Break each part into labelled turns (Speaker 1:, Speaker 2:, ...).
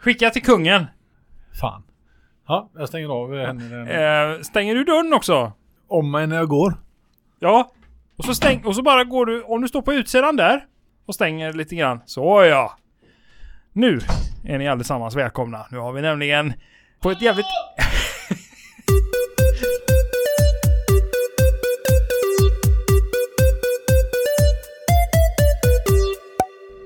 Speaker 1: Skicka till kungen.
Speaker 2: Fan. Ja, jag stänger av eh, henne. den-
Speaker 1: Eh, stänger du dörren också?
Speaker 2: Om mig när jag går.
Speaker 1: Ja. Och så stäng, och så bara går du, om du står på utsidan där och stänger lite grann. Så ja. Nu är ni allesammans välkomna. Nu har vi nämligen på ett jävligt...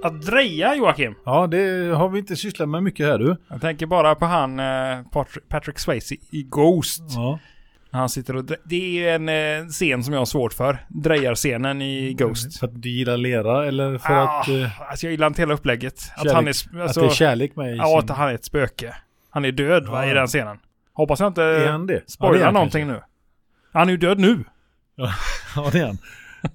Speaker 1: Att dreja Joakim.
Speaker 2: Ja, det har vi inte sysslat med mycket här du.
Speaker 1: Jag tänker bara på han eh, Patr- Patrick Swayze i Ghost.
Speaker 2: Ja.
Speaker 1: När han sitter och dre- Det är ju en eh, scen som jag har svårt för. Drejarscenen i Ghost.
Speaker 2: För att du gillar lera eller för
Speaker 1: Mm. ah,
Speaker 2: att... eh,
Speaker 1: alltså jag gillar inte hela upplägget. att
Speaker 2: kärlek-
Speaker 1: han är... sp- Alltså,
Speaker 2: att det är kärlek med i
Speaker 1: ja,
Speaker 2: sin-
Speaker 1: att han är ett spöke. Han är död va,
Speaker 2: Ja.
Speaker 1: i den scenen. Hoppas jag inte
Speaker 2: Är han det?
Speaker 1: eh, spoilar
Speaker 2: Ja, det är han
Speaker 1: någonting nu. Han är ju död nu.
Speaker 2: Ja, det är han.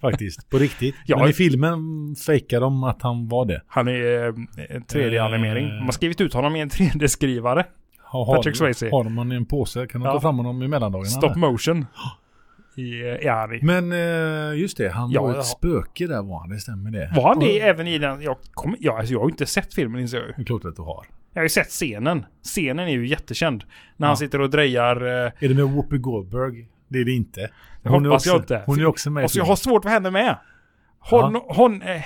Speaker 2: Faktiskt. På riktigt.
Speaker 1: Ja.
Speaker 2: Men i filmen fejkar de att han var det.
Speaker 1: Han är eh, en 3D-animering.
Speaker 2: Eh.
Speaker 1: De har skrivit ut honom i en 3D-skrivare.
Speaker 2: Ha, har-
Speaker 1: Patrick Swayze.
Speaker 2: Har man i en påse kan de
Speaker 1: Ja.
Speaker 2: ta fram honom i mellandagarna.
Speaker 1: Stop motion. I, eh, ja, det-
Speaker 2: Men eh, just det, han
Speaker 1: Ja,
Speaker 2: var ett
Speaker 1: ja.
Speaker 2: spöke där var han, det stämmer det.
Speaker 1: Var han det
Speaker 2: Och-
Speaker 1: även i den? Jag, kom, ja, alltså jag har ju inte sett filmen inser jag ju.
Speaker 2: Det är klart att du har.
Speaker 1: Jag har ju sett scenen. Scenen är ju jättekänd. När
Speaker 2: Ja.
Speaker 1: han sitter och drejar. Eh,
Speaker 2: Är det med Whoopi Goldberg? Det är det inte.
Speaker 1: hoppas
Speaker 2: är också,
Speaker 1: jag inte.
Speaker 2: Hon är också med i
Speaker 1: och så jag
Speaker 2: filmen.
Speaker 1: har svårt för henne med. Hon, hon, eh,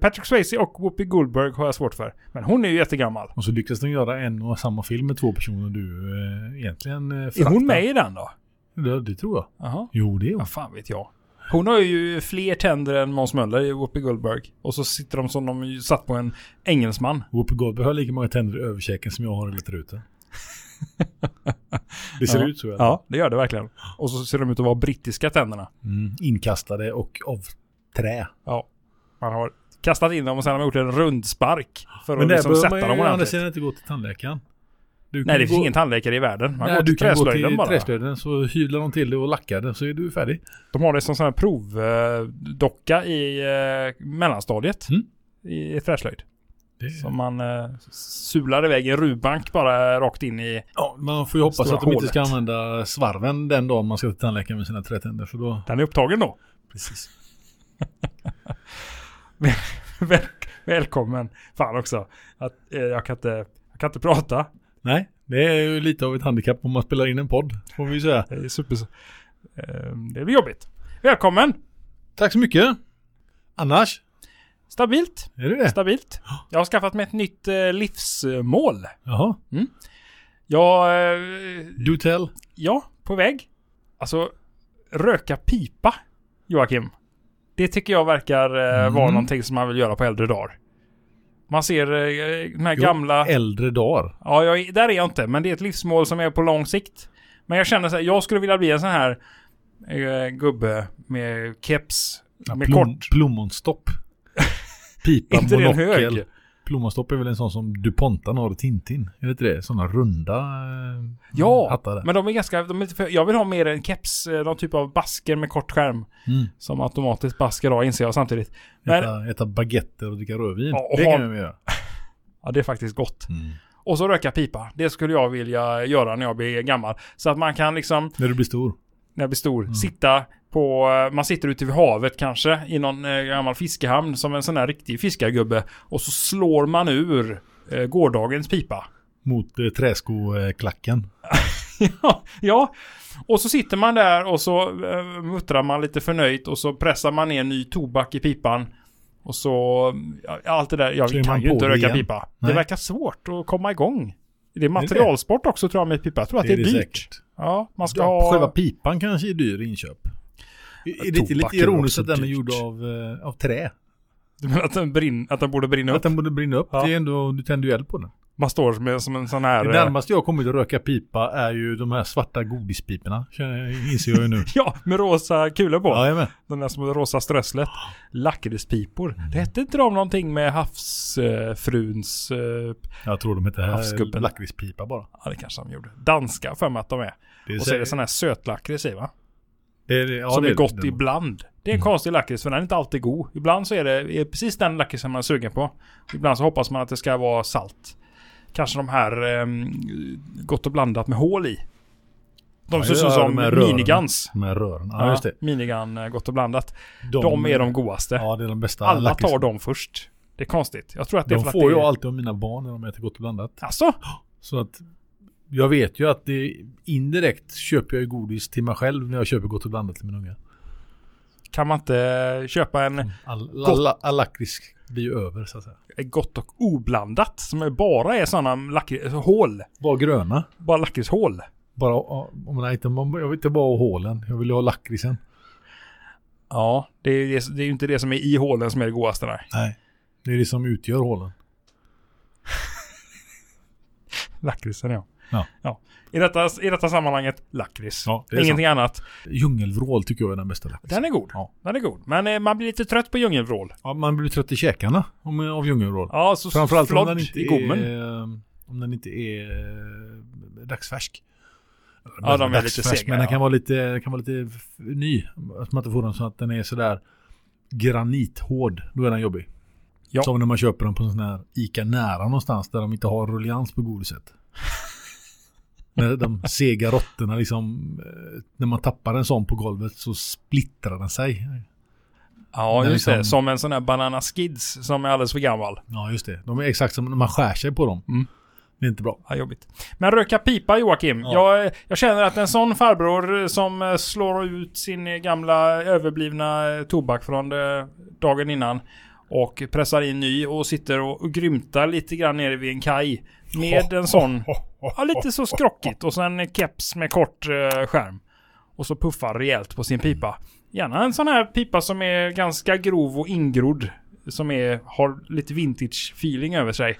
Speaker 1: Patrick Swayze och Whoopi Goldberg har jag svårt för. Men hon är ju jättegammal.
Speaker 2: Och så lyckas de göra en och samma film med två personer du eh, egentligen eh,
Speaker 1: Är
Speaker 2: föraktar.
Speaker 1: hon med i den då?
Speaker 2: Det, det tror jag.
Speaker 1: Jaha.
Speaker 2: Jo, det är hon.
Speaker 1: Vad fan vet jag. Hon har ju fler tänder än Måns Möller i Whoopi Goldberg. Och så sitter de som de ju satt på en engelsman.
Speaker 2: Whoopi Goldberg har lika många tänder i överkäken som jag har i truten. det ser
Speaker 1: Ja.
Speaker 2: ut så. i alla fall.
Speaker 1: Ja, det gör det verkligen. Och så ser de ut att vara brittiska tänderna.
Speaker 2: Mm. Inkastade och av trä.
Speaker 1: Ja. Man har kastat in dem och sen har man gjort en rundspark. För
Speaker 2: Men
Speaker 1: att
Speaker 2: där
Speaker 1: liksom
Speaker 2: behöver
Speaker 1: sätta
Speaker 2: man ju
Speaker 1: dem
Speaker 2: å andra
Speaker 1: ordentligt.
Speaker 2: sidan inte gå till tandläkaren. Du
Speaker 1: Nej,
Speaker 2: kan
Speaker 1: det
Speaker 2: gå-
Speaker 1: finns ingen tandläkare i världen. Man
Speaker 2: Nej,
Speaker 1: går
Speaker 2: du
Speaker 1: till
Speaker 2: kan gå
Speaker 1: träslöjden
Speaker 2: till
Speaker 1: bara.
Speaker 2: träslöjden så hyvlar de till det och lackar det så är du färdig.
Speaker 1: De har det som sån här provdocka i eh, mellanstadiet.
Speaker 2: Mm.
Speaker 1: I träslöjd.
Speaker 2: Det,
Speaker 1: Som man eh, sular iväg i en rubank bara rakt in i...
Speaker 2: ja, man får ju hoppas
Speaker 1: Stora
Speaker 2: att de inte
Speaker 1: hålet.
Speaker 2: ska använda svarven den dagen man ska till tandläkaren med sina trätänder. För då...
Speaker 1: Den är upptagen då.
Speaker 2: Precis.
Speaker 1: Väl, välkommen. Fan också. Att, eh, jag, kan inte, jag kan inte prata.
Speaker 2: Nej, det är ju lite av ett handikapp om man spelar in en podd. Får vi ju säga.
Speaker 1: Det är super... Eh, det blir jobbigt. Välkommen!
Speaker 2: Tack så mycket. Annars,
Speaker 1: Stabilt.
Speaker 2: är det det?
Speaker 1: Stabilt. Jag har skaffat mig ett nytt eh, livsmål.
Speaker 2: Jaha.
Speaker 1: Jag... Eh,
Speaker 2: Do tell.
Speaker 1: Ja, på väg. Alltså, röka pipa, Joakim. Det tycker jag verkar eh,
Speaker 2: Mm.
Speaker 1: vara någonting som man vill göra på äldre dagar. Man ser eh, den här
Speaker 2: Jo,
Speaker 1: gamla...
Speaker 2: Äldre dagar.
Speaker 1: Ja, jag, är- där är jag inte, men det är ett livsmål som är på lång sikt. Men jag känner så här, jag skulle vilja bli en sån här eh, gubbe med keps, med
Speaker 2: Plom,
Speaker 1: kort.
Speaker 2: plommonstopp. Pipa,
Speaker 1: Inte det en
Speaker 2: monokel.
Speaker 1: hög?
Speaker 2: Plommonstopp är väl en sån som DuPontan har i Tintin? Är det inte det? Sådana runda eh,
Speaker 1: Ja,
Speaker 2: hattar där.
Speaker 1: men de är ganska... De är inte för, jag vill ha mer en keps, eh, någon typ av basker med kort skärm.
Speaker 2: Mm.
Speaker 1: Som automatiskt basker av, inser jag samtidigt. Men,
Speaker 2: Äta, äta baguetter och dricka rödvin.
Speaker 1: Ja, och
Speaker 2: det
Speaker 1: ha-
Speaker 2: kan vi göra. Mm.
Speaker 1: ja, det är faktiskt gott. Och så röka pipa. Det skulle jag vilja göra när jag blir gammal. Så att man kan liksom,
Speaker 2: När du blir stor.
Speaker 1: när jag blir stor, sitta på... Man sitter ute vid havet kanske i någon eh, gammal fiskehamn som en sån här riktig fiskargubbe. Och så slår man ur eh, gårdagens pipa.
Speaker 2: Mot eh, träskoklacken.
Speaker 1: Ja, ja, och så sitter man där och så eh, muttrar man lite förnöjt och så pressar man ner ny tobak i pipan. Och så, ja, allt det där. Jag
Speaker 2: Så är
Speaker 1: kan
Speaker 2: man
Speaker 1: ju
Speaker 2: på
Speaker 1: inte
Speaker 2: det
Speaker 1: röka
Speaker 2: igen.
Speaker 1: pipa.
Speaker 2: Nej.
Speaker 1: Det verkar svårt att komma igång. Det är materialsport också tror jag med pipa. Jag tror att det är, dyrt.
Speaker 2: säkert.
Speaker 1: Ja, man ska
Speaker 2: Ja,
Speaker 1: ha...
Speaker 2: Själva pipan kanske är dyr i inköp. Är det inte
Speaker 1: Tobaken
Speaker 2: lite
Speaker 1: är
Speaker 2: ironiskt
Speaker 1: också
Speaker 2: att den är
Speaker 1: dyrt.
Speaker 2: gjord av, eh, av trä?
Speaker 1: Du menar att den, brinn, att den borde brinna
Speaker 2: Att
Speaker 1: upp?
Speaker 2: den borde brinna upp.
Speaker 1: Ja.
Speaker 2: Det är ändå, du tänder ju eld på den.
Speaker 1: Man står med, som en sån här...
Speaker 2: Det
Speaker 1: eh,
Speaker 2: närmaste jag har kommit att röka pipa är ju de här svarta godispiporna. Känner jag- Inser jag ju nu.
Speaker 1: Ja, med rosa kulor på.
Speaker 2: Jajamän.
Speaker 1: Den där som rosa strösslet. Lakritspipor. Det hette inte de någonting med havsfruns... Eh,
Speaker 2: Jag tror de heter här
Speaker 1: Havsgubben.
Speaker 2: lakritspipa bara.
Speaker 1: ja, det kanske de gjorde. Danska för mig att de är.
Speaker 2: Det är
Speaker 1: Och så är det
Speaker 2: säkert-
Speaker 1: sån här sötlakrits i va?
Speaker 2: det är- Mm. ja,
Speaker 1: som
Speaker 2: det
Speaker 1: är gott
Speaker 2: det.
Speaker 1: ibland. Det är en konstig lakrits för den är inte alltid god. Ibland så är det är precis den lakritsen man är sugen på. Ibland så hoppas man att det ska vara salt. Kanske de här ehm, gott och blandat med hål i. De ser ut
Speaker 2: Ja,
Speaker 1: som
Speaker 2: de här rören.
Speaker 1: minigans.
Speaker 2: De här rören. Ja, just det.
Speaker 1: Minigun eh, gott och blandat. De, är de godaste.
Speaker 2: Ja, det är de bästa
Speaker 1: Alla
Speaker 2: lakrits-
Speaker 1: tar dem först. Det är konstigt. Jag tror att det är
Speaker 2: De
Speaker 1: för
Speaker 2: får
Speaker 1: att det
Speaker 2: jag
Speaker 1: är...
Speaker 2: alltid av mina barn när de äter gott och blandat.
Speaker 1: Alltså?
Speaker 2: Så att jag vet ju att det indirekt köper jag ju godis till mig själv när jag köper gott och blandat till min unga.
Speaker 1: Kan man inte köpa en
Speaker 2: All,
Speaker 1: Gott.
Speaker 2: all, all lakrits blir ju över så att säga.
Speaker 1: gott och oblandat som är bara är sådana lakrits- hål?
Speaker 2: Bara gröna.
Speaker 1: Bara lakritshål?
Speaker 2: Bara, ja, om man inte, man- jag vill inte bara ha hålen, jag vill ju ha lakritsen.
Speaker 1: Ja, det är, ju- det är ju inte det som är i hålen som är det godaste. Nej.
Speaker 2: Nej. Det är det som utgör hålen.
Speaker 1: Lakritsen ja.
Speaker 2: Ja.
Speaker 1: I, detta, I detta sammanhanget, lakrits.
Speaker 2: Ja, det är
Speaker 1: Ingenting annat.
Speaker 2: Djungelvrål tycker jag är den bästa lakritsen.
Speaker 1: Den är god.
Speaker 2: Ja.
Speaker 1: Den är god. Men eh, man blir lite trött på djungelvrål.
Speaker 2: Ja, man blir trött i käkarna om, av djungelvrål.
Speaker 1: Ja, så
Speaker 2: Framförallt om
Speaker 1: flodd
Speaker 2: den inte
Speaker 1: i gommen.
Speaker 2: är... eh, Om den inte är eh, dagsfärsk.
Speaker 1: Ja, de är
Speaker 2: Dagsfärsk,
Speaker 1: lite sega,
Speaker 2: Men den
Speaker 1: ja.
Speaker 2: kan vara lite, kan vara lite f- ny. Att man inte får den så att den är sådär granithård. Då är den jobbig.
Speaker 1: Ja.
Speaker 2: Som när man köper den på en sån här Ica nära någonstans där de inte har ruljans på godiset. när de sega råttorna liksom, eh, när man tappar en sån på golvet så splittrar den sig.
Speaker 1: Ja,
Speaker 2: Den
Speaker 1: just
Speaker 2: liksom-
Speaker 1: det. Som en sån här Banana Skids som är alldeles för gammal.
Speaker 2: Ja, just det. De är exakt som när man skär sig på dem.
Speaker 1: Mm.
Speaker 2: Det är inte bra.
Speaker 1: Ja, jobbigt. Men röka pipa Joakim.
Speaker 2: Ja.
Speaker 1: Jag, jag känner att en sån farbror som eh, slår ut sin eh, gamla överblivna eh, tobak från eh, dagen innan och pressar in ny och sitter och, och grymtar lite grann nere vid en kaj. Med en sån. Ja, lite så skrockigt. Och sen keps med kort eh, skärm. Och så puffar rejält på sin pipa. Gärna en sån här pipa som är ganska grov och ingrodd. Som är, har lite vintage-feeling över sig.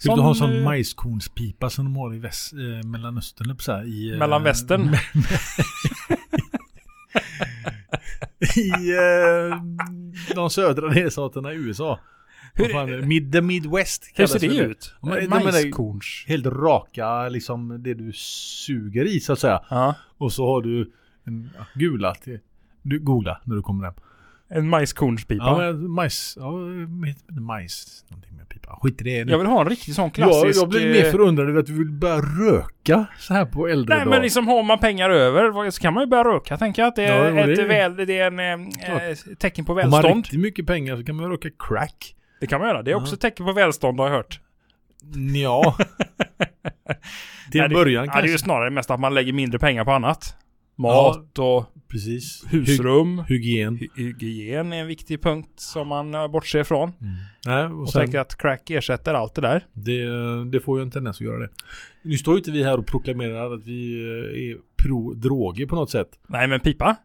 Speaker 2: Skulle du ha en sån
Speaker 1: eh,
Speaker 2: majskornspipa som de har i väst, eh, Mellanöstern, eller så här, i... Eh,
Speaker 1: Mellanvästern.
Speaker 2: I eh, de södra delstaterna i USA. Vad
Speaker 1: Hur-
Speaker 2: fan, är det? mid, the Midwest
Speaker 1: Hur
Speaker 2: kallas
Speaker 1: ser det
Speaker 2: väl
Speaker 1: ut?
Speaker 2: Ja, men- nej, men det-
Speaker 1: Majskorns.
Speaker 2: Helt raka, liksom det du suger i så att säga.
Speaker 1: Ja.
Speaker 2: Och så har du en ja, gula till... Du, googla när du kommer hem.
Speaker 1: En majskornspipa.
Speaker 2: Ja, men majs... Ja, med- majs... Någonting med pipa. Skit i det nu.
Speaker 1: Jag vill ha en riktig sån klassisk...
Speaker 2: jag, jag blir mer
Speaker 1: eh,
Speaker 2: förundrad över att du vill börja röka så här på äldre
Speaker 1: Nej
Speaker 2: dag.
Speaker 1: men liksom har man pengar över vad- så kan man ju börja röka. Jag tänker att det är,
Speaker 2: Ja, jo, det
Speaker 1: ett
Speaker 2: är-
Speaker 1: väl, det är en, eh, eh, tecken på
Speaker 2: Om man har
Speaker 1: välstånd.
Speaker 2: riktigt mycket pengar så kan man röka crack.
Speaker 1: Det kan man göra. Det är också ett tecken på välstånd har jag hört.
Speaker 2: Ja. Till
Speaker 1: Nej,
Speaker 2: en början
Speaker 1: det, ja,
Speaker 2: kanske.
Speaker 1: Det är ju snarare mest att man lägger mindre pengar på annat.
Speaker 2: Ja.
Speaker 1: Mat och
Speaker 2: Precis. Hy-
Speaker 1: husrum.
Speaker 2: hygien.
Speaker 1: Hy- Hygien är en viktig punkt som man eh, bortser ifrån.
Speaker 2: Nej, och
Speaker 1: Och
Speaker 2: sen,
Speaker 1: tänker att crack ersätter allt det där.
Speaker 2: det, det får ju en tendens att göra det. Nu står ju inte vi här och proklamerar att vi eh, är pro-droger på något sätt.
Speaker 1: Nej men pipa.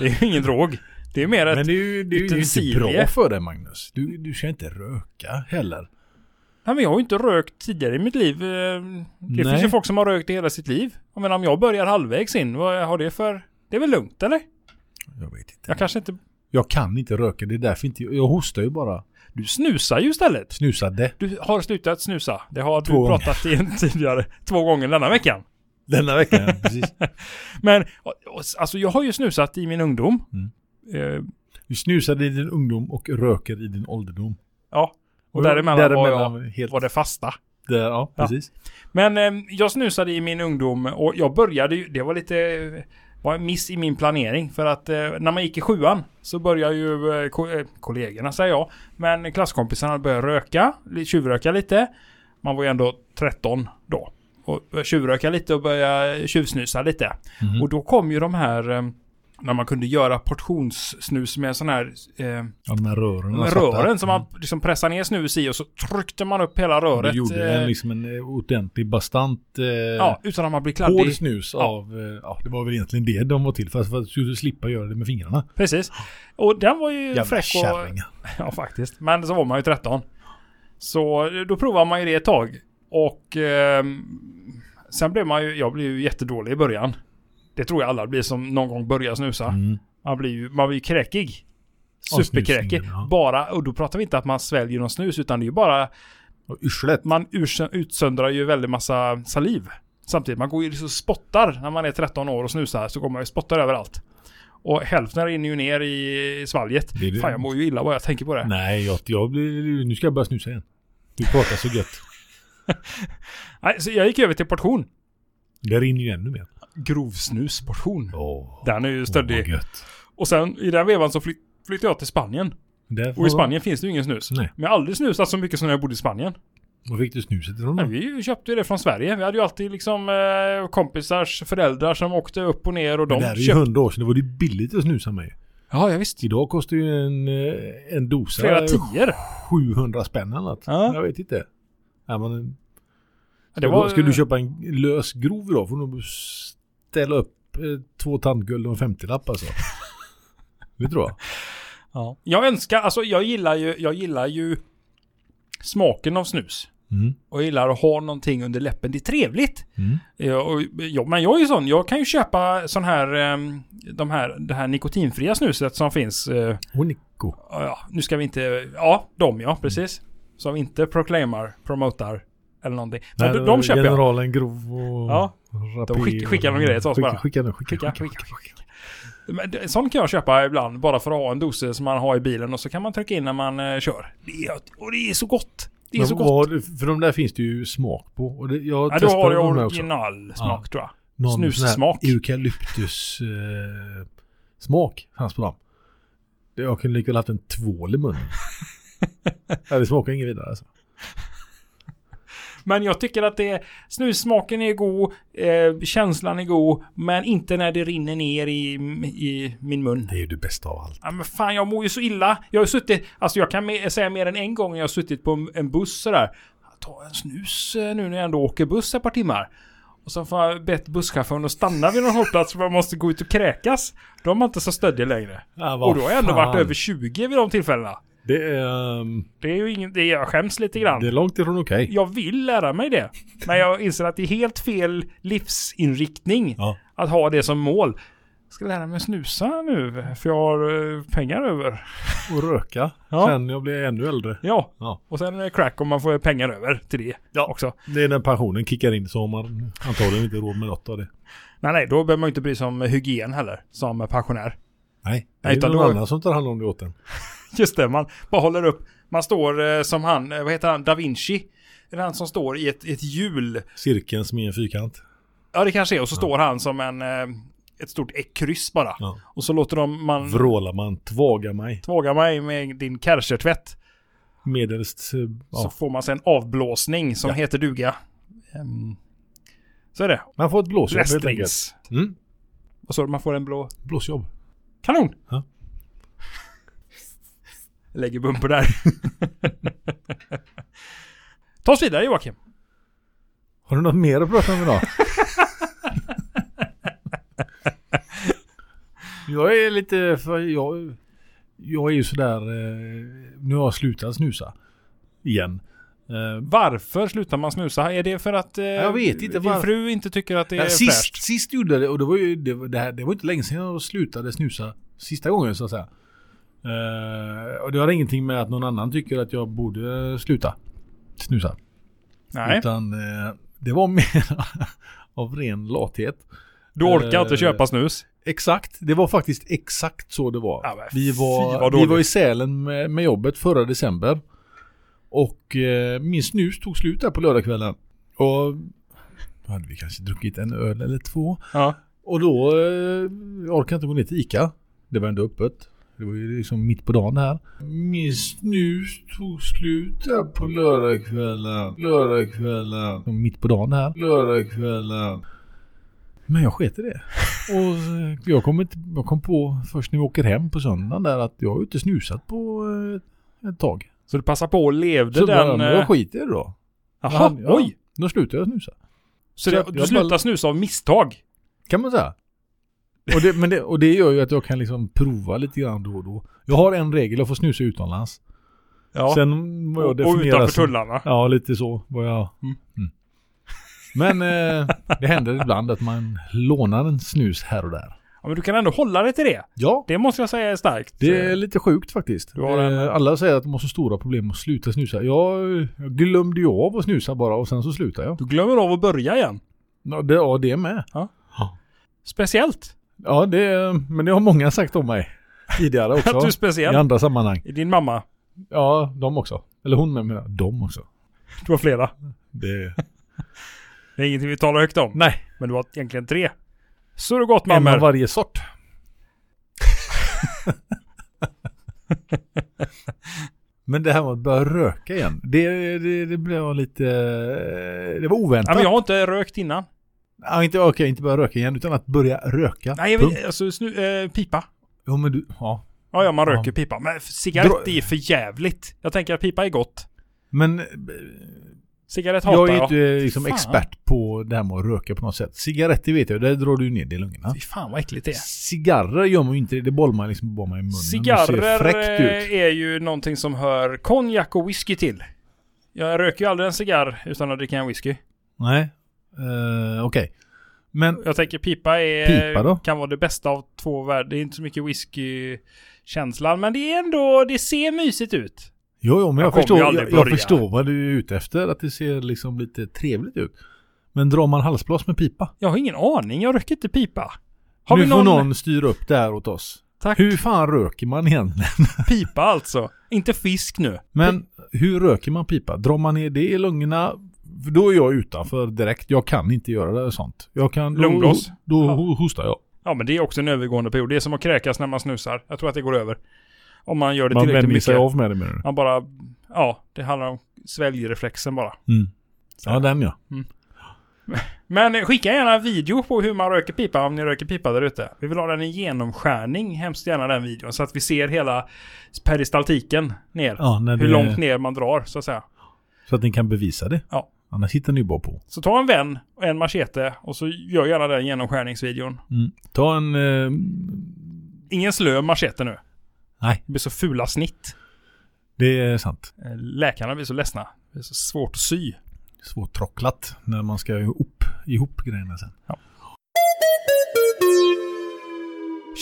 Speaker 1: det är ju ingen drog. Det är mer ett...
Speaker 2: Men det är ju, det är ju inte
Speaker 1: utensilie.
Speaker 2: bra för dig Magnus. Du, du ska inte röka heller.
Speaker 1: Nej, men jag har ju inte rökt tidigare i mitt liv. Eh, Det
Speaker 2: Nej.
Speaker 1: finns ju folk som har rökt i hela sitt liv. Jag menar om jag börjar halvvägs in, vad har det för... Det är väl lugnt eller?
Speaker 2: Jag vet inte.
Speaker 1: Jag kanske inte...
Speaker 2: Jag kan inte röka, det är därför inte jag, jag hostar ju bara.
Speaker 1: Du snusar ju istället.
Speaker 2: Snusade.
Speaker 1: Du har slutat snusa. Det har du
Speaker 2: Två gånger.
Speaker 1: pratat i en tidigare. Två gånger denna veckan.
Speaker 2: Denna veckan, precis.
Speaker 1: Men och- och- alltså jag har ju snusat i min ungdom.
Speaker 2: Mm.
Speaker 1: Eh,
Speaker 2: Du snusade i din ungdom och röker i din ålderdom.
Speaker 1: ja, och däremellan, var,
Speaker 2: jag...
Speaker 1: jag,
Speaker 2: Helt,
Speaker 1: var det fasta.
Speaker 2: där, ja,
Speaker 1: Ja.
Speaker 2: precis.
Speaker 1: Men eh, jag snusade i min ungdom och jag började ju, det var lite, eh, var en miss i min planering. För att eh, när man gick i sjuan så började ju eh, ko- eh, kollegorna säger jag, men klasskompisarna började röka, li- tjuvröka lite. Man var ju ändå 13 då. Och började tjuvröka lite och började tjuvsnusa lite.
Speaker 2: Mhm.
Speaker 1: Och då kom ju de här, eh, när man kunde göra portionssnus med en sån här eh,
Speaker 2: Ja, de här rören.
Speaker 1: de här rören som man liksom pressade ner snus i och så tryckte man upp hela
Speaker 2: röret.
Speaker 1: röret.
Speaker 2: Du Mm. gjorde
Speaker 1: eh,
Speaker 2: en, liksom en eh, ordentlig bastant eh,
Speaker 1: Ja, utan att man blir
Speaker 2: hård
Speaker 1: kladdig.
Speaker 2: snus
Speaker 1: Ja.
Speaker 2: av... eh, Ja, det var väl egentligen det de var till för. För att du skulle slippa göra det med fingrarna.
Speaker 1: Precis. Och den var ju
Speaker 2: Jävla
Speaker 1: fräck och...
Speaker 2: kärringar.
Speaker 1: Ja, faktiskt. Men så var man ju 13. Så då provar man ju det ett tag. Och ehm, sen blev man ju... Jag blev ju jättedålig i början. Det tror jag alla blir som någon gång börjar snusa.
Speaker 2: Mm.
Speaker 1: Man blir ju, man blir ju kräkig.
Speaker 2: Av
Speaker 1: Superkräkig.
Speaker 2: snusningen, ja.
Speaker 1: Bara, och då pratar vi inte att man sväljer någon snus utan det är ju bara...
Speaker 2: Och yrslet.
Speaker 1: Man ursö- utsöndrar ju väldigt massa saliv. Samtidigt, man går ju liksom och spottar när man är 13 år och snusar så går man ju och spottar överallt. Och hälften rinner ju ner i svalget.
Speaker 2: Det är det.
Speaker 1: Fan, jag mår ju illa bara jag tänker på det. Nej,
Speaker 2: Nej, jag, jag blir... Nu ska jag börja snusa igen. Du pratar så gött.
Speaker 1: så jag gick över till portion.
Speaker 2: Det rinner ju ännu mer.
Speaker 1: Grovsnusportion.
Speaker 2: Åh,
Speaker 1: Den är ju
Speaker 2: åh,
Speaker 1: stöddig.
Speaker 2: gött.
Speaker 1: och sen i den vevan så flytt, flyttade jag till Spanien.
Speaker 2: Där får
Speaker 1: Och i
Speaker 2: de-
Speaker 1: Spanien finns det ju ingen snus.
Speaker 2: Nej.
Speaker 1: Men jag har aldrig snusat så mycket som när jag bodde i Spanien.
Speaker 2: Var fick du snuset ifrån
Speaker 1: Nej,
Speaker 2: då?
Speaker 1: vi ju- köpte ju det från Sverige. Vi hade ju alltid liksom eh, kompisars föräldrar som åkte upp och ner och
Speaker 2: Det
Speaker 1: de
Speaker 2: där är ju
Speaker 1: köpte.
Speaker 2: hundra år sedan, då var det ju billigt att snusa med.
Speaker 1: Ja, ja visst.
Speaker 2: Idag kostar ju en, eh, en dosa
Speaker 1: Flera tior.
Speaker 2: 700 spänn eller något.
Speaker 1: Ja.
Speaker 2: Jag vet inte. Nej, men,
Speaker 1: Ja,
Speaker 2: det Ska du köpa en lös grov idag får du nog ställa upp eh, två tandguld och en 50-lapp alltså. det tror jag.
Speaker 1: Ja. Jag önskar, alltså jag gillar ju, jag gillar ju smaken av snus.
Speaker 2: Mm.
Speaker 1: Och jag gillar att ha någonting under läppen. Det är trevligt.
Speaker 2: Mm.
Speaker 1: Ja, och, ja, men jag är ju sån. Jag kan ju köpa sån här, ehm, de här, det här nikotinfria snuset som finns. eh,
Speaker 2: Och Nico.
Speaker 1: ja, nu ska vi inte, ja, de ja, precis. Som inte proclaimar, promotar eller någonting. Men de, de köper jag.
Speaker 2: generalen grov och...
Speaker 1: Ja.
Speaker 2: Rapé,
Speaker 1: De skick- skickar de grejer till oss
Speaker 2: skicka,
Speaker 1: bara.
Speaker 2: Skicka nu, skicka,
Speaker 1: Skicka,
Speaker 2: skicka,
Speaker 1: skicka, skicka. Men det- sån kan jag köpa ibland bara för att ha en dosa som man har i bilen och så kan man trycka in när man eh, kör. Det är, och det är så gott. Det är
Speaker 2: Men
Speaker 1: så gott.
Speaker 2: vad- för de där finns det ju smak på. Och det, jag
Speaker 1: Ja, då
Speaker 2: testade
Speaker 1: har du
Speaker 2: de här också.
Speaker 1: originalsmak tror jag.
Speaker 2: Någon
Speaker 1: snussmak.
Speaker 2: sån här Eukalyptus eh, smak fanns på dem. Det- Jag kunde lika väl haft en tvål i munnen. ja, det smakar inget vidare alltså.
Speaker 1: Men jag tycker att det snussmaken är god, eh, känslan är god, men inte när det rinner ner i, i min mun.
Speaker 2: Det är ju det bästa av allt.
Speaker 1: Ja, men fan, jag mår ju så illa. Jag har ju suttit, alltså jag kan me- säga mer än en gång när jag har suttit på en- en buss sådär. Ta en snus eh, nu när jag ändå åker buss ett par timmar. Och så får jag bett busschauffören att stanna vid någon hållplats för man måste gå ut och kräkas. Då är man inte så stöddig längre.
Speaker 2: Ja, vad
Speaker 1: Och då har jag ändå
Speaker 2: fan.
Speaker 1: varit över 20 vid de tillfällena.
Speaker 2: Det är, ehm,
Speaker 1: Det är ju ingen, det är, jag skäms lite grann.
Speaker 2: det är långt ifrån okej.
Speaker 1: Jag vill lära mig det. Men jag inser att det är helt fel livsinriktning
Speaker 2: Ja.
Speaker 1: att ha det som mål. Jag ska lära mig snusa nu, för jag har eh, pengar över.
Speaker 2: Och röka.
Speaker 1: Ja.
Speaker 2: Sen jag blir ännu äldre.
Speaker 1: Ja,
Speaker 2: Ja.
Speaker 1: och sen är det crack om man får pengar över till det också.
Speaker 2: Det är när pensionen kickar in så har man antagligen inte råd med något av det.
Speaker 1: Nej, nej, då behöver man ju inte bry sig om hygien heller, som pensionär.
Speaker 2: Nej, det
Speaker 1: Nej,
Speaker 2: är
Speaker 1: utan
Speaker 2: någon
Speaker 1: då-
Speaker 2: annan som tar hand om det åt en.
Speaker 1: Just det, man bara håller upp. Man står eh, som han, eh, vad heter han, da Vinci? Det är han som står i ett, ett hjul.
Speaker 2: Cirkeln som är en fyrkant.
Speaker 1: Ja, det kanske är. Och så står han som en, eh, ett stort kryss bara.
Speaker 2: Ja.
Speaker 1: Och så låter de man...
Speaker 2: Vrålar man, tvagar mig,
Speaker 1: Tvåga mig med din kärsertvätt.
Speaker 2: medelst... eh,
Speaker 1: Så
Speaker 2: Ja.
Speaker 1: får man sen avblåsning som
Speaker 2: Ja.
Speaker 1: heter duga. Ehm, så är det.
Speaker 2: Man får ett blåsjobb helt enkelt.
Speaker 1: Wrestlings.
Speaker 2: Mm.
Speaker 1: Och så man får en blå
Speaker 2: Blåsjobb.
Speaker 1: kanon.
Speaker 2: Ja.
Speaker 1: Jag Lägger bumper där. Ta oss vidare Joakim.
Speaker 2: Har du något mer att prata om idag? jag är lite för jag, jag är ju sådär, eh, nu har jag slutat snusa igen. Eh,
Speaker 1: Varför slutar man snusa? Är det för att eh,
Speaker 2: Jag vet inte
Speaker 1: din
Speaker 2: varför.
Speaker 1: fru inte tycker att det är
Speaker 2: ja, sist,
Speaker 1: fräscht?
Speaker 2: sist gjorde jag det och det var ju det, var- det, här, det var inte länge sedan jag slutade snusa sista gången så att säga. Eh, och det har ingenting med att någon annan tycker att jag borde sluta snusa.
Speaker 1: Nej,
Speaker 2: Utan eh, det var mer av ren lathet.
Speaker 1: du orkar inte
Speaker 2: eh,
Speaker 1: köpa snus.
Speaker 2: Exakt, det var faktiskt exakt så det var.
Speaker 1: Ja, men
Speaker 2: vi,
Speaker 1: fy, vad
Speaker 2: var
Speaker 1: dåligt.
Speaker 2: vi var i Sälen med, med jobbet förra december. Och eh, min snus tog slut där på lördagskvällen. Och då hade vi kanske druckit en öl eller två.
Speaker 1: Ja.
Speaker 2: Och då eh, jag orkade inte gå ner till Ica. Det var ändå öppet. Det var ju liksom mitt på dagen här. Min snus tog slut där på lördagskvällen. Lördagskvällen. Mitt på dagen här. Lördagskvällen. Men jag sket i det. Och eh, jag kom, inte, jag kom på först när vi åker hem på söndagen där att jag har ju inte snusat på eh, ett tag.
Speaker 1: Så du passar på och levde
Speaker 2: Så bara,
Speaker 1: den...
Speaker 2: men
Speaker 1: eh,
Speaker 2: jag skiter i det då.
Speaker 1: Jaha,
Speaker 2: Ja,
Speaker 1: oj!
Speaker 2: Då slutade jag snusa.
Speaker 1: Så
Speaker 2: Så
Speaker 1: det,
Speaker 2: jag-
Speaker 1: du
Speaker 2: jag
Speaker 1: slutar
Speaker 2: bara-
Speaker 1: snusa av misstag?
Speaker 2: Kan man säga. Och det, men det, och det gör ju att jag kan liksom prova lite grann då och då. Jag har en regel, jag får snusa utomlands.
Speaker 1: Ja.
Speaker 2: Sen
Speaker 1: och,
Speaker 2: vad jag
Speaker 1: och
Speaker 2: definiera
Speaker 1: utanför
Speaker 2: som-
Speaker 1: tullarna.
Speaker 2: Ja, lite så vad jag...
Speaker 1: Mm.
Speaker 2: Mm. Men eh, det händer ibland att man lånar en snus här och där.
Speaker 1: Ja, men du kan ändå hålla dig till det.
Speaker 2: Ja,
Speaker 1: Det måste jag säga är starkt.
Speaker 2: det är lite sjukt faktiskt.
Speaker 1: Du har en-
Speaker 2: Eh, Alla säger att de har så stora problem att sluta snusa. Jag, jag glömde ju av att snusa bara och sen så slutade jag.
Speaker 1: Du glömmer av att börja igen.
Speaker 2: Ja, det, ja, det med.
Speaker 1: Speciellt.
Speaker 2: Ja, det, men det har många sagt om mig tidigare
Speaker 1: Att du
Speaker 2: också.
Speaker 1: är
Speaker 2: I
Speaker 1: speciell.
Speaker 2: andra sammanhang.
Speaker 1: Din mamma.
Speaker 2: Ja, de också. Eller hon med menar De också.
Speaker 1: Du har flera.
Speaker 2: Det...
Speaker 1: Det är ingenting vi talar högt om.
Speaker 2: Nej.
Speaker 1: Men du har egentligen tre.
Speaker 2: En
Speaker 1: Surrogatmammor.
Speaker 2: av varje sort. Men det här med att börja röka igen, det, det, det blev lite... Det var oväntat.
Speaker 1: Nej, men jag har inte rökt innan.
Speaker 2: Ja, inte, okej, inte börja röka igen, utan att börja röka.
Speaker 1: Nej, jag
Speaker 2: Punkt.
Speaker 1: vet, alltså snu, eh, pipa.
Speaker 2: Jo, men du, ja.
Speaker 1: Ja, ja, man
Speaker 2: Ja.
Speaker 1: röker pipa. Men cigarett
Speaker 2: Dra-
Speaker 1: är för jävligt. Jag tänker att pipa är gott.
Speaker 2: Men eh,
Speaker 1: Cigarett hatar
Speaker 2: jag är
Speaker 1: jag.
Speaker 2: inte eh, liksom
Speaker 1: Fan.
Speaker 2: expert på det här med att röka på något sätt. Cigaretter vet jag, där drar du ner det i lungorna.
Speaker 1: Fy fan vad äckligt det är.
Speaker 2: Cigarrer gör man ju inte, det det bollar man liksom bara med i munnen. Det ser
Speaker 1: Cigarrer
Speaker 2: fräckt ut.
Speaker 1: eh, är ju någonting som hör konjak och whisky till. Jag röker ju aldrig en cigarr utan att dricka en whisky.
Speaker 2: Nej, Eh, okej. Men
Speaker 1: Jag tänker pipa, är,
Speaker 2: Pipa då?
Speaker 1: kan vara det bästa av två världar. Det är inte så mycket whiskykänslan men det är ändå, det ser mysigt ut.
Speaker 2: Jo, jo, men jag,
Speaker 1: Jag kommer
Speaker 2: förstår,
Speaker 1: ju
Speaker 2: jag,
Speaker 1: aldrig
Speaker 2: jag
Speaker 1: börja.
Speaker 2: förstår vad du är ute efter. Att det ser liksom lite trevligt ut. Men drar man halsblås med pipa?
Speaker 1: Jag har ingen aning, jag röker inte pipa. Har
Speaker 2: nu
Speaker 1: vi
Speaker 2: får
Speaker 1: någon,
Speaker 2: någon styra upp det här åt oss.
Speaker 1: Tack.
Speaker 2: Hur fan röker man egentligen?
Speaker 1: pipa alltså? Inte fisk nu.
Speaker 2: Men hur röker man pipa? Drar man ner det i lungorna? För Då är jag utanför direkt. Jag kan inte göra det sånt. Jag kan... då-
Speaker 1: Lungblås?
Speaker 2: Då,
Speaker 1: Ja.
Speaker 2: ho- hostar jag.
Speaker 1: Ja men det är också en övergående period. Det är som att kräkas när man snusar. Jag tror att det går över. Om man gör det
Speaker 2: Man
Speaker 1: tillräckligt
Speaker 2: vänjer sig
Speaker 1: mycket.
Speaker 2: av med det menar du?
Speaker 1: Man bara, ja det handlar om sväljreflexen bara.
Speaker 2: Mm. Ja, den ja.
Speaker 1: Men eh, skicka gärna en video på hur man röker pipa om ni röker pipa där ute. Vi vill ha den i genomskärning, hemskt gärna den videon. Så att vi ser hela peristaltiken ner.
Speaker 2: ja när
Speaker 1: hur
Speaker 2: det-
Speaker 1: långt ner man drar så att säga.
Speaker 2: Så att ni kan bevisa det.
Speaker 1: Ja.
Speaker 2: Annars hittar ni ju bara på.
Speaker 1: Så ta en vän och en machete och så gör gärna den genomskärningsvideon.
Speaker 2: Mm. Ta en... Eh,
Speaker 1: Ingen slö machete nu.
Speaker 2: Nej.
Speaker 1: Det blir så fula snitt.
Speaker 2: det är sant.
Speaker 1: Eh, Läkarna blir så ledsna. Det är så svårt att sy.
Speaker 2: svårtrocklat när man ska ihop, ihop grejerna sen.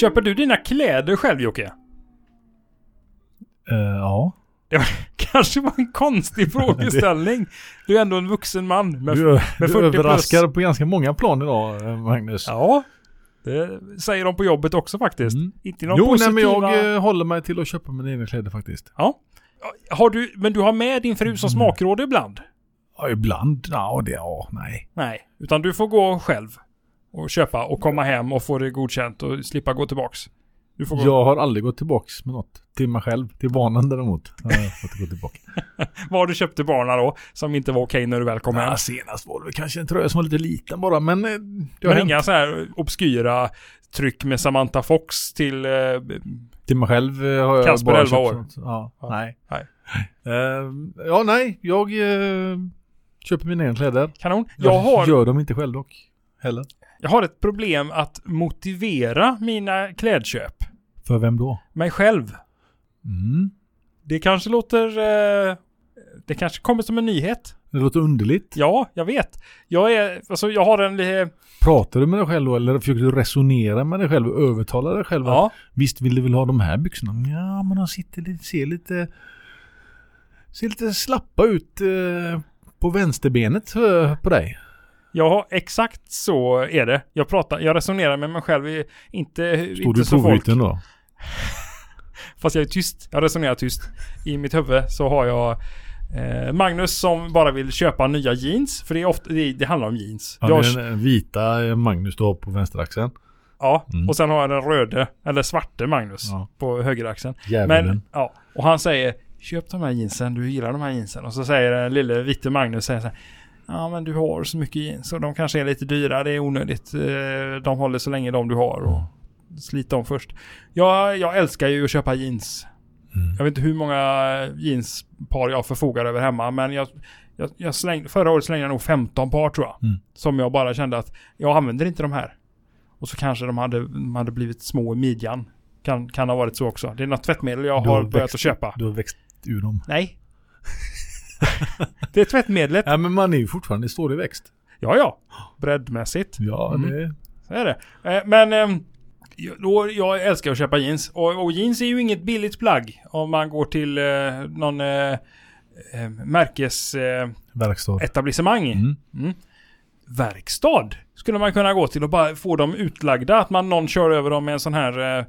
Speaker 1: Köper du dina kläder själv Jocke?
Speaker 2: Eh, ja.
Speaker 1: Det var, kanske var en konstig frågeställning. Du är ändå en vuxen man. Med,
Speaker 2: Du,
Speaker 1: med
Speaker 2: du
Speaker 1: 40 plus.
Speaker 2: överraskar på ganska många plan idag, eh, Magnus.
Speaker 1: Ja, det säger de på jobbet också faktiskt.
Speaker 2: Mm.
Speaker 1: Inte någon
Speaker 2: Jo, nej,
Speaker 1: positiva...
Speaker 2: men jag eh, håller mig till att köpa mina egna kläder faktiskt.
Speaker 1: Ja. Har du, men du har med din fru
Speaker 2: Mm.
Speaker 1: som smakråd ibland?
Speaker 2: Ja, ibland. Ja, det, ja, nej.
Speaker 1: Nej, utan du får gå själv och köpa och komma hem och få det godkänt och slippa gå tillbaks. Du får gå.
Speaker 2: Jag har aldrig gått tillbaks med något. Till mig själv. Till vanan däremot. har Jag fått gå tillbaka.
Speaker 1: Vad har du köpt till barnen då som inte var okej när du väl kom hem?
Speaker 2: Ja, senast var det väl kanske en tröja som var lite liten bara, men eh, det har
Speaker 1: Men
Speaker 2: hänt.
Speaker 1: inga så här obskyra tryck med Samantha Fox till... Eh,
Speaker 2: Till mig själv eh, har jag
Speaker 1: Kasper,
Speaker 2: bara
Speaker 1: 11
Speaker 2: köpt
Speaker 1: år.
Speaker 2: sånt. Ja,
Speaker 1: Ja.
Speaker 2: nej.
Speaker 1: Nej.
Speaker 2: Eh, ja, nej. Jag eh, köper mina egna kläder.
Speaker 1: kanon. Jag har...
Speaker 2: Gör de inte själv dock. Heller.
Speaker 1: Jag har ett problem att motivera mina klädköp.
Speaker 2: För vem då?
Speaker 1: Mig själv.
Speaker 2: Mm.
Speaker 1: Det kanske låter... Eh, det kanske kommer som en nyhet.
Speaker 2: Det låter underligt.
Speaker 1: Ja, jag vet. Jag är... Alltså jag har en... eh,
Speaker 2: Pratar du med dig själv då eller försöker du resonera med dig själv och övertala dig själv?
Speaker 1: Ja.
Speaker 2: Att, Visst vill du väl ha de här byxorna? Ja, men de sitter lite, ser lite... Ser lite slappa ut eh, på vänsterbenet eh, på dig.
Speaker 1: Jag har, exakt så är det. Jag pratar... Jag resonerar med mig själv. i- Inte,
Speaker 2: Står
Speaker 1: inte
Speaker 2: du
Speaker 1: så
Speaker 2: på
Speaker 1: folk.
Speaker 2: bryten då?
Speaker 1: Fast jag är tyst. Jag resonerar tyst. I mitt huvud så har jag... Eh, Magnus som bara vill köpa nya jeans. För det är ofta... Det, det handlar om jeans.
Speaker 2: Ja,
Speaker 1: jag,
Speaker 2: det är den vita eh, Magnus du har på vänsteraxeln.
Speaker 1: ja
Speaker 2: Mm.
Speaker 1: och sen har jag den röde. Eller svarte Magnus.
Speaker 2: Ja.
Speaker 1: På högeraxeln.
Speaker 2: Djävulen.
Speaker 1: Men, ja. Och han säger Köp de här jeansen, du gillar de här jeansen. Och så säger den lille vite Magnus säger så här, Ja men du har så mycket jeans och de kanske är lite dyra, det är onödigt. Eh, De håller så länge de du har och slit dem först. Jag, jag älskar ju att köpa jeans.
Speaker 2: Mm.
Speaker 1: Jag vet inte hur många jeanspar jag förfogar över hemma men jag, jag, jag slängde, förra året slängde jag nog 15 par tror jag.
Speaker 2: Mm.
Speaker 1: Som jag bara kände att jag använder inte de här. Och så kanske de hade, de hade blivit små i midjan. Kan, kan ha varit så också. Det är något tvättmedel jag
Speaker 2: Du
Speaker 1: har
Speaker 2: har
Speaker 1: börjat
Speaker 2: växt-
Speaker 1: att köpa.
Speaker 2: Du har växt ur dem.
Speaker 1: Nej. det är tvättmedlet.
Speaker 2: Ja, men man är ju fortfarande står i växt.
Speaker 1: Ja, ja. Breddmässigt.
Speaker 2: Ja,
Speaker 1: Mm.
Speaker 2: det...
Speaker 1: Så är det. Eh, Men ehm, jag- då, jag älskar att köpa jeans. Och, och jeans är ju inget billigt plagg. Om man går till eh, någon eh, eh, märkesetablissemang.
Speaker 2: Verkstad.
Speaker 1: Eh, etablissemang.
Speaker 2: Mm.
Speaker 1: Verkstad skulle man kunna gå till och bara få dem utlagda. Att man någon kör över dem med en sån här... Eh,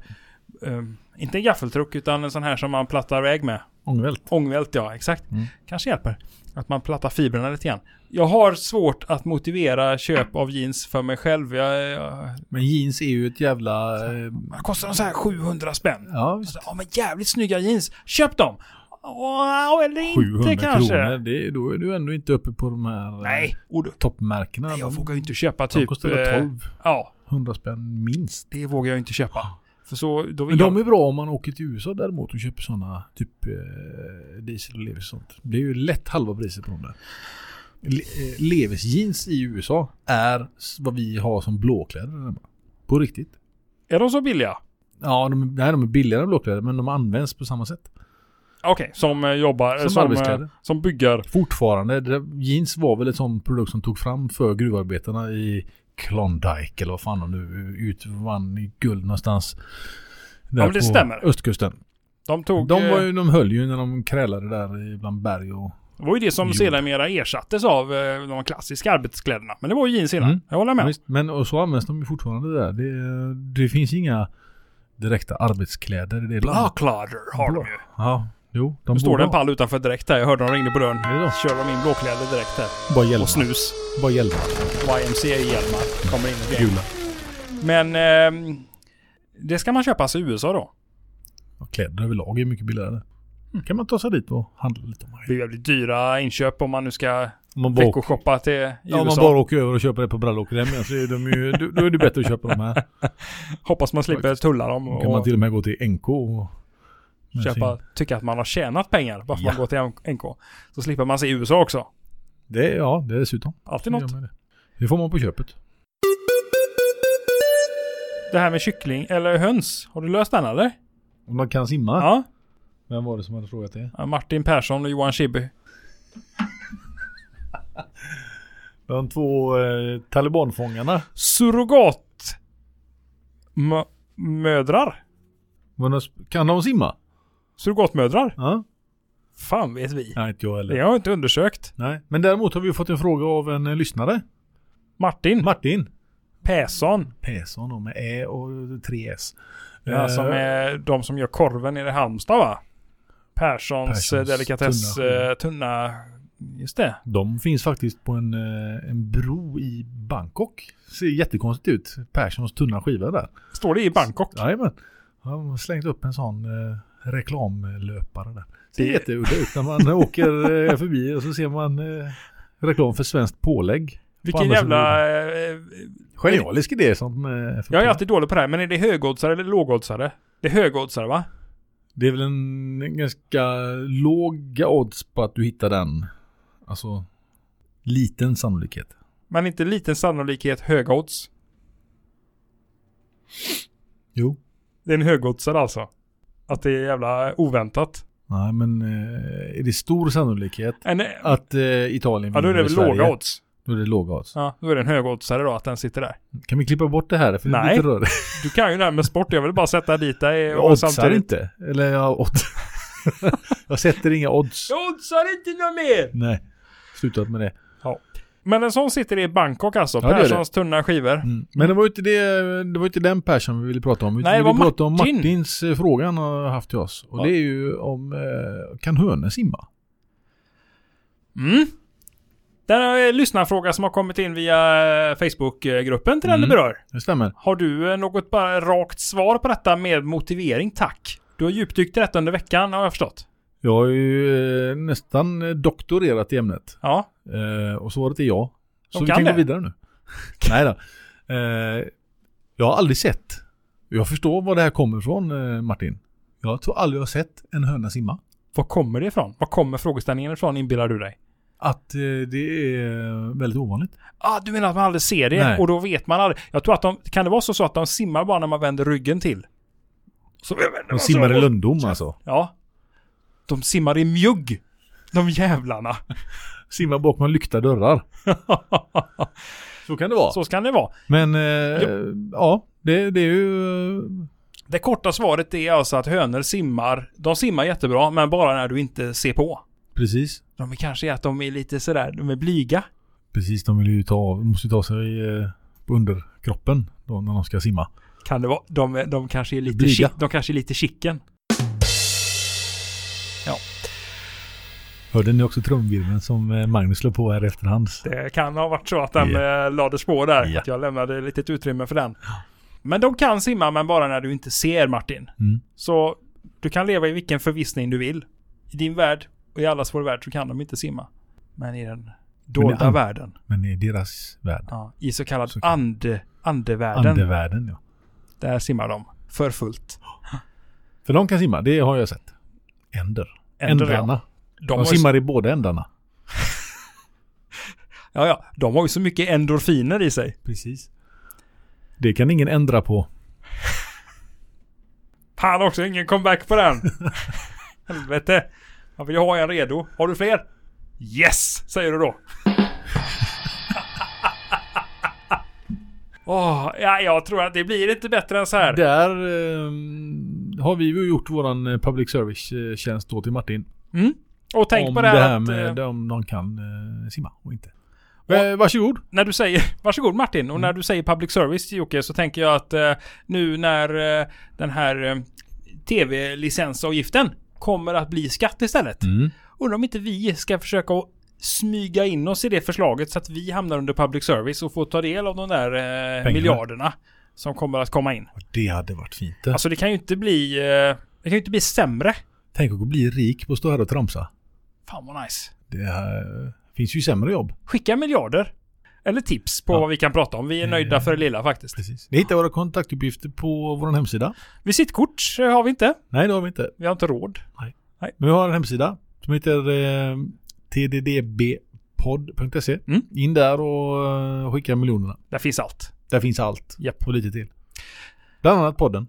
Speaker 1: eh, inte en gaffeltruck utan en sån här som man plattar väg med.
Speaker 2: Ångvält.
Speaker 1: Ångvält ja, exakt.
Speaker 2: Mm.
Speaker 1: Kanske hjälper. Att man plattar fibrerna lite grann. Jag har svårt att motivera köp av jeans för mig själv. Jag, jag,
Speaker 2: Men jeans är ju ett jävla... eh,
Speaker 1: vad kostar de så här 700 spänn?
Speaker 2: Ja, visst.
Speaker 1: Ja men jävligt snygga jeans. Köp dem! Åh, eller inte
Speaker 2: 700
Speaker 1: kanske.
Speaker 2: kronor. Det, då är du ändå inte uppe på de här eh,
Speaker 1: Nej, och då,
Speaker 2: toppmärkena.
Speaker 1: nej, jag
Speaker 2: de,
Speaker 1: vågar ju inte köpa
Speaker 2: de
Speaker 1: typ...
Speaker 2: kostar väl
Speaker 1: eh,
Speaker 2: 12.
Speaker 1: Ja,
Speaker 2: 100 spänn minst.
Speaker 1: det vågar jag inte köpa. För så, då
Speaker 2: Men
Speaker 1: vill
Speaker 2: de
Speaker 1: jag...
Speaker 2: är bra om man åker till USA däremot och köper sådana typ eh, diesel och levis och sånt. Det är ju lätt halva priset på dem där. Le, eh, levis jeans i USA är s- vad vi har som blåkläder där hemma. På riktigt.
Speaker 1: Är de så billiga?
Speaker 2: Ja, de, nej, de är billigare än blåkläder men de används på samma sätt.
Speaker 1: Okej, som eh, jobbar...
Speaker 2: Som
Speaker 1: Som, som, eh,
Speaker 2: arbetskläder.
Speaker 1: som bygger...
Speaker 2: Fortfarande. Det, där- jeans var väl ett sånt produkt som tog fram för gruvarbetarna i Klondike eller vad fan de nu utvann i guld någonstans. Där
Speaker 1: Ja, men det
Speaker 2: på
Speaker 1: stämmer.
Speaker 2: Östkusten.
Speaker 1: De tog...
Speaker 2: De, var
Speaker 1: eh,
Speaker 2: ju, de höll ju när de krälade där i- bland berg och...
Speaker 1: Det var ju det som
Speaker 2: Jo.
Speaker 1: sedermera ersattes av eh, de klassiska arbetskläderna. Men det var ju jeans innan.
Speaker 2: Mm.
Speaker 1: Jag håller med.
Speaker 2: Visst, men och så används de ju fortfarande där. Det, det finns inga direkta arbetskläder i det landet.
Speaker 1: Blåkläder Ah, har de ju.
Speaker 2: Ja, jo. De
Speaker 1: Nu står
Speaker 2: borde
Speaker 1: det en
Speaker 2: ha-
Speaker 1: pall utanför direkt här. Jag hörde de ringde på dörren.
Speaker 2: Är det
Speaker 1: Kör de in blåkläder direkt här.
Speaker 2: Bara hjälmar.
Speaker 1: Och snus.
Speaker 2: Bara hjälmar.
Speaker 1: YMCA-hjälmar kommer in i det.
Speaker 2: Gula.
Speaker 1: Men ehm, det ska man köpa sig i USA då.
Speaker 2: Och kläder överlag är mycket billigare.
Speaker 1: Mm.
Speaker 2: Kan man ta sig dit och handla lite om man
Speaker 1: Det blir väldigt dyra inköp om man nu ska
Speaker 2: Om man bara, åker,
Speaker 1: veckoshoppa till i
Speaker 2: ja, om man
Speaker 1: USA.
Speaker 2: bara åker över och köper det på brallor och hem igen så är de ju, då då är det bättre att köpa de här.
Speaker 1: Hoppas man slipper tulla dem
Speaker 2: Då kan man
Speaker 1: och
Speaker 2: till och med gå till NK och... med
Speaker 1: köpa,
Speaker 2: sin-
Speaker 1: tycka att man har tjänat pengar bara för
Speaker 2: Ja.
Speaker 1: man går till NK. Så slipper man se i USA också.
Speaker 2: Det, ja, det är dessutom.
Speaker 1: Alltid något.
Speaker 2: Det, det får man på köpet.
Speaker 1: Det här med kyckling eller höns. Har du löst den eller?
Speaker 2: Om de kan simma?
Speaker 1: Ja.
Speaker 2: Vem var det som hade frågat det?
Speaker 1: Martin Persson och Johan Schibbye.
Speaker 2: De två eh, talibanfångarna.
Speaker 1: Surrogat... mö- Mödrar?
Speaker 2: Men de- Kan de simma?
Speaker 1: Surrogatmödrar?
Speaker 2: Ja.
Speaker 1: Fan vet vi.
Speaker 2: Nej, inte jag
Speaker 1: Det
Speaker 2: heller.
Speaker 1: har jag inte undersökt.
Speaker 2: Nej. Men däremot har vi fått en fråga av en eh, lyssnare.
Speaker 1: Martin
Speaker 2: Martin.
Speaker 1: Persson.
Speaker 2: Persson då, med Ä och tre S. Eh.
Speaker 1: Ja, som är de som gör korven i Halmstad va? Perssons,
Speaker 2: Perssons
Speaker 1: eh, delikatess
Speaker 2: tunna
Speaker 1: tunna.
Speaker 2: skiva.
Speaker 1: tunna... Just det.
Speaker 2: De finns faktiskt på en, eh, en bro i Bangkok. Ser jättekonstigt ut. Perssons tunna skiva där.
Speaker 1: Står det i Bangkok?
Speaker 2: Jajamän. De har slängt upp en sån eh, reklamlöpare där. Ser
Speaker 1: Det-
Speaker 2: jätteudda ut när man åker eh, förbi och så ser man eh, reklam för svenskt pålägg.
Speaker 1: Vilken
Speaker 2: andra
Speaker 1: jävla... eh,
Speaker 2: Genialisk idé som... eh, för-
Speaker 1: Jag är alltid dålig på det här, men är det högoddsare eller lågoddsare? Det är högoddsare va?
Speaker 2: Det är väl en ganska låga odds på att du hittar den. Alltså, liten sannolikhet.
Speaker 1: Men inte liten sannolikhet höga odds.
Speaker 2: Jo.
Speaker 1: Det är en högoddsare alltså. Att det är jävla oväntat.
Speaker 2: Nej, men eh, är det stor sannolikhet
Speaker 1: En,
Speaker 2: att eh, Italien
Speaker 1: ja, då är det
Speaker 2: vinner
Speaker 1: väl
Speaker 2: Sverige?
Speaker 1: låga odds.
Speaker 2: Då är det låga odds.
Speaker 1: Ja, då är det en högoddsare då att den sitter där.
Speaker 2: Kan vi klippa bort det här? För det är
Speaker 1: Nej.
Speaker 2: lite rörigt.
Speaker 1: Du kan ju det här med sport. Jag vill bara sätta dit dig
Speaker 2: Jag
Speaker 1: och
Speaker 2: oddsar
Speaker 1: samtidigt...
Speaker 2: inte. Eller jag odds. jag sätter inga odds.
Speaker 1: Jag oddsar inte något mer!
Speaker 2: Nej. Slutat med det.
Speaker 1: Men en sån sitter i Bangkok alltså.
Speaker 2: Ja, det gör det.
Speaker 1: Perssons tunna skivor.
Speaker 2: Mm. Men det var ju inte, det, det var ju inte den Persson vi ville prata om. Vi
Speaker 1: Nej, det
Speaker 2: ville
Speaker 1: var
Speaker 2: prata om
Speaker 1: Martin.
Speaker 2: Martins eh, fråga han har haft till oss. Och
Speaker 1: Ja.
Speaker 2: det är ju om, eh, kan hönor simma?
Speaker 1: Mm. Där har jag en lyssnarfråga som har kommit in via eh, Facebookgruppen till den
Speaker 2: Mm.
Speaker 1: det berör.
Speaker 2: Det stämmer.
Speaker 1: Har du eh, något bara rakt svar på detta med motivering? Tack. Du har djupdykt i detta under veckan har jag förstått.
Speaker 2: Jag har ju eh, nästan eh, doktorerat i ämnet.
Speaker 1: Ja.
Speaker 2: Eh, och svaret är ja. Så
Speaker 1: De
Speaker 2: vi
Speaker 1: kan
Speaker 2: kan gå
Speaker 1: det.
Speaker 2: vidare nu. Nej då. Eh, jag har aldrig sett. Jag förstår var det här kommer ifrån eh, Martin. Jag tror aldrig jag har sett en höna simma.
Speaker 1: Var kommer det ifrån? Var kommer frågeställningen ifrån inbillar du dig?
Speaker 2: Att eh, det är väldigt ovanligt.
Speaker 1: Ah, du menar att man aldrig ser det
Speaker 2: Nej.
Speaker 1: och då vet man aldrig. Jag tror att de, kan det vara så, så att de simmar bara när man vänder ryggen till? Så jag vänder
Speaker 2: De
Speaker 1: mig
Speaker 2: simmar
Speaker 1: så.
Speaker 2: i lönndom alltså.
Speaker 1: Ja. De simmar i mjugg. De jävlarna.
Speaker 2: Simmar bakom lyckta dörrar. Så kan det vara.
Speaker 1: så ska det vara.
Speaker 2: Men eh, ja, det, det är ju... eh,
Speaker 1: Det korta svaret är alltså att hönor simmar. De simmar jättebra, men bara när du inte ser på.
Speaker 2: Precis.
Speaker 1: De är kanske att de är lite sådär, de är blyga.
Speaker 2: Precis, de vill ju ta av, de måste ju ta sig eh, på underkroppen då när de ska simma.
Speaker 1: Kan det vara. De, är- de kanske är lite
Speaker 2: Blyga.
Speaker 1: chi, De kanske är lite chicken.
Speaker 2: Hörde ni också trumvirveln som eh, Magnus slår på här efterhand?
Speaker 1: Det kan ha varit så att den yeah. lades på där.
Speaker 2: Ja.
Speaker 1: Att jag lämnade lite utrymme för den. Men de kan simma, men bara när du inte ser Martin.
Speaker 2: Mm.
Speaker 1: Så du kan leva i vilken förvissning du vill. I din värld och i allas vår värld så kan de inte simma. Men i den dolda
Speaker 2: an-
Speaker 1: världen,
Speaker 2: Men det är deras värld.
Speaker 1: ja, i så kallad
Speaker 2: Så kan-
Speaker 1: ande, andevärlden,
Speaker 2: Andevärlden ja.
Speaker 1: där simmar de för fullt.
Speaker 2: För de kan simma, det har jag sett. Änder.
Speaker 1: Ändrar jag.
Speaker 2: Ändrarna.
Speaker 1: De,
Speaker 2: De,
Speaker 1: har ju,
Speaker 2: simmar i båda ändarna.
Speaker 1: ja, ja, de har ju så mycket endorfiner i sig.
Speaker 2: Precis. Det kan ingen ändra på.
Speaker 1: Fan också, ingen comeback på den. Helvete. Jag vill ju ha en redo. Har du fler? Yes, säger du då. Åh, ja, jag tror att det blir inte bättre än så här.
Speaker 2: Där ehm, har vi ju gjort våran eh, public service-tjänst då till Martin.
Speaker 1: Mm. Och tänk
Speaker 2: om
Speaker 1: på det här, att,
Speaker 2: med
Speaker 1: eh,
Speaker 2: om de kan eh, simma och inte. Eh, varsågod.
Speaker 1: när du säger, varsågod Martin, och när
Speaker 2: Mm.
Speaker 1: du säger public service Jocke så tänker jag att eh, nu när eh, den här eh, tv-licensavgiften kommer att bli skatt istället.
Speaker 2: Mm.
Speaker 1: Undrar om inte vi ska försöka att smyga in oss i det förslaget så att vi hamnar under public service och får ta del av de där eh, miljarderna som kommer att komma in.
Speaker 2: Det hade varit fint. det.
Speaker 1: Alltså det kan ju inte bli, eh, det kan ju inte bli sämre.
Speaker 2: Tänk att bli rik på att stå här och tramsa.
Speaker 1: Fan vad nice.
Speaker 2: Det här, eh, finns ju sämre jobb.
Speaker 1: Skicka miljarder. Eller tips på
Speaker 2: Ja.
Speaker 1: vad vi kan prata om. Vi är nöjda
Speaker 2: Eh.
Speaker 1: för det lilla faktiskt.
Speaker 2: Precis. Ni hittar våra kontaktuppgifter på vår hemsida.
Speaker 1: Visitkort eh, har vi inte.
Speaker 2: Nej, det har vi inte.
Speaker 1: Vi har inte råd.
Speaker 2: Men vi har en hemsida som heter eh, tddbpodd.se.
Speaker 1: Mm.
Speaker 2: E. In där och eh, skicka miljonerna.
Speaker 1: Där finns allt.
Speaker 2: Där finns allt.
Speaker 1: Japp.
Speaker 2: Och lite till. Bland annat podden.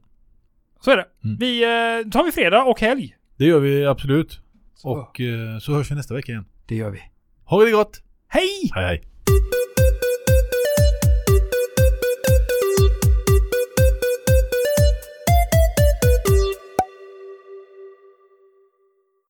Speaker 1: Så är det.
Speaker 2: Mm.
Speaker 1: Vi eh, tar vi fredag och helg.
Speaker 2: Det gör vi absolut.
Speaker 1: Så.
Speaker 2: Och eh, så hörs vi nästa vecka igen.
Speaker 1: Det gör vi.
Speaker 2: Ha det gott!
Speaker 1: Hej!
Speaker 2: Hej hej!